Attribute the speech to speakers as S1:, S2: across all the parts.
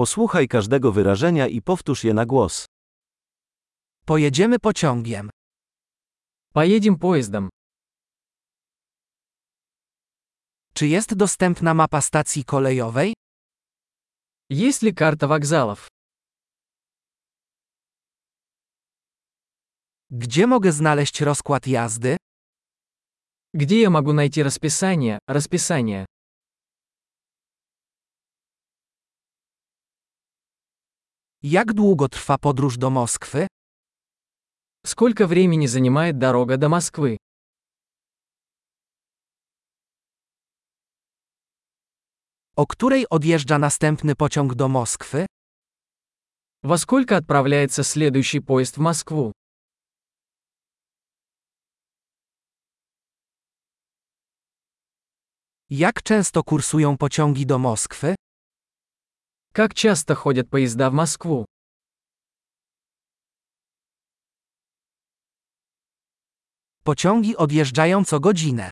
S1: Posłuchaj każdego wyrażenia i powtórz je na głos.
S2: Pojedziemy pociągiem.
S3: Поедем поездом.
S2: Czy jest dostępna mapa stacji kolejowej?
S3: Есть ли карта вокзалов?
S2: Gdzie mogę znaleźć rozkład jazdy?
S3: Где я могу найти расписание, расписание?
S2: Jak długo trwa podróż do Moskwy?
S3: Сколько времени занимает дорога до Москвы?
S2: O której odjeżdża następny pociąg do Moskwy?
S3: Во сколько отправляется следующий поезд в Москву?
S2: Jak często kursują pociągi do Moskwy?
S3: Как часто ходят поезда в Москву?
S2: Pociągi odjeżdżają co godzinę.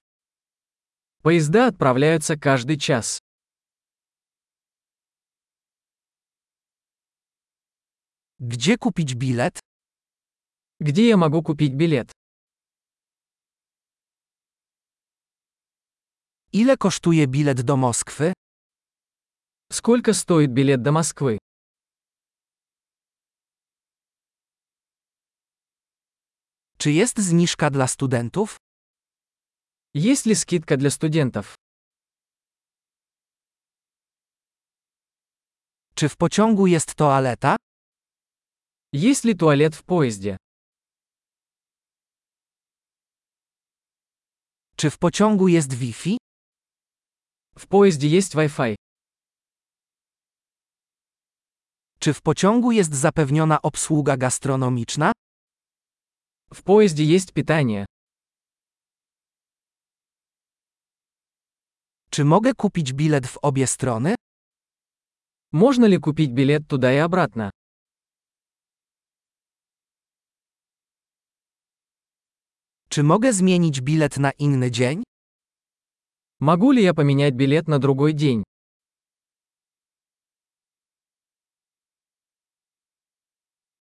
S3: Поезда отправляются каждый час.
S2: Gdzie kupić bilet?
S3: Где я могу купить билет?
S2: Ile kosztuje bilet do Moskwy?
S3: Сколько стоит билет до Москвы?
S2: Czy jest zniżka dla studentów?
S3: Есть ли скидка для студентов?
S2: Czy w pociągu jest toaleta?
S3: Есть ли туалет в поезде?
S2: Czy w pociągu jest Wi-Fi?
S3: В поезде есть Wi-Fi.
S2: Czy w pociągu jest zapewniona obsługa gastronomiczna?
S3: В поезде есть питание.
S2: Czy mogę kupić bilet w obie strony?
S3: Можно ли купить билет туда и обратно?
S2: Czy mogę zmienić bilet na inny dzień?
S3: Могу ли я поменять билет на другой день?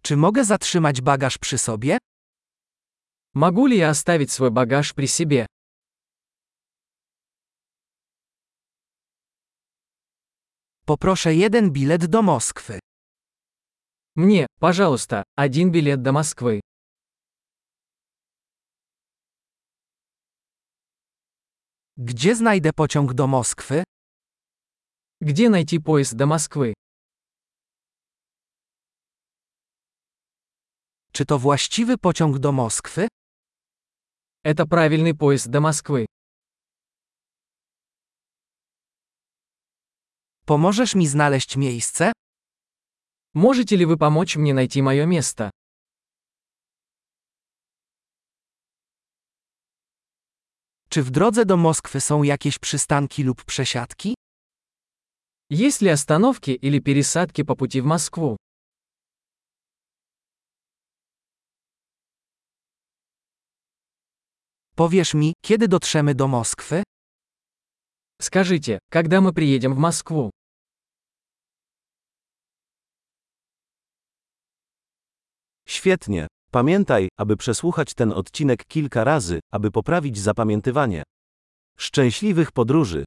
S2: Czy mogę zatrzymać bagaż przy sobie?
S3: Могу ли я оставить свой багаж при себе?
S2: Poproszę jeden bilet do Moskwy.
S3: Мне, пожалуйста, один билет до Москвы.
S2: Gdzie znajdę pociąg do Moskwy?
S3: Где найти поезд до Москвы?
S2: Czy to właściwy pociąg do Moskwy?
S3: Это правильный поезд до Москвы.
S2: Pomożesz mi znaleźć miejsce?
S3: Можете ли вы помочь мне найти мое место?
S2: Czy w drodze do Moskwy są jakieś przystanki lub przesiadki?
S3: Есть ли остановки или пересадки по пути в Москву?
S2: Powiesz mi, kiedy dotrzemy do Moskwy?
S3: Скажите, когда мы приедем в Москву?
S1: Świetnie. Pamiętaj, aby przesłuchać ten odcinek kilka razy, aby poprawić zapamiętywanie. Szczęśliwych podróży!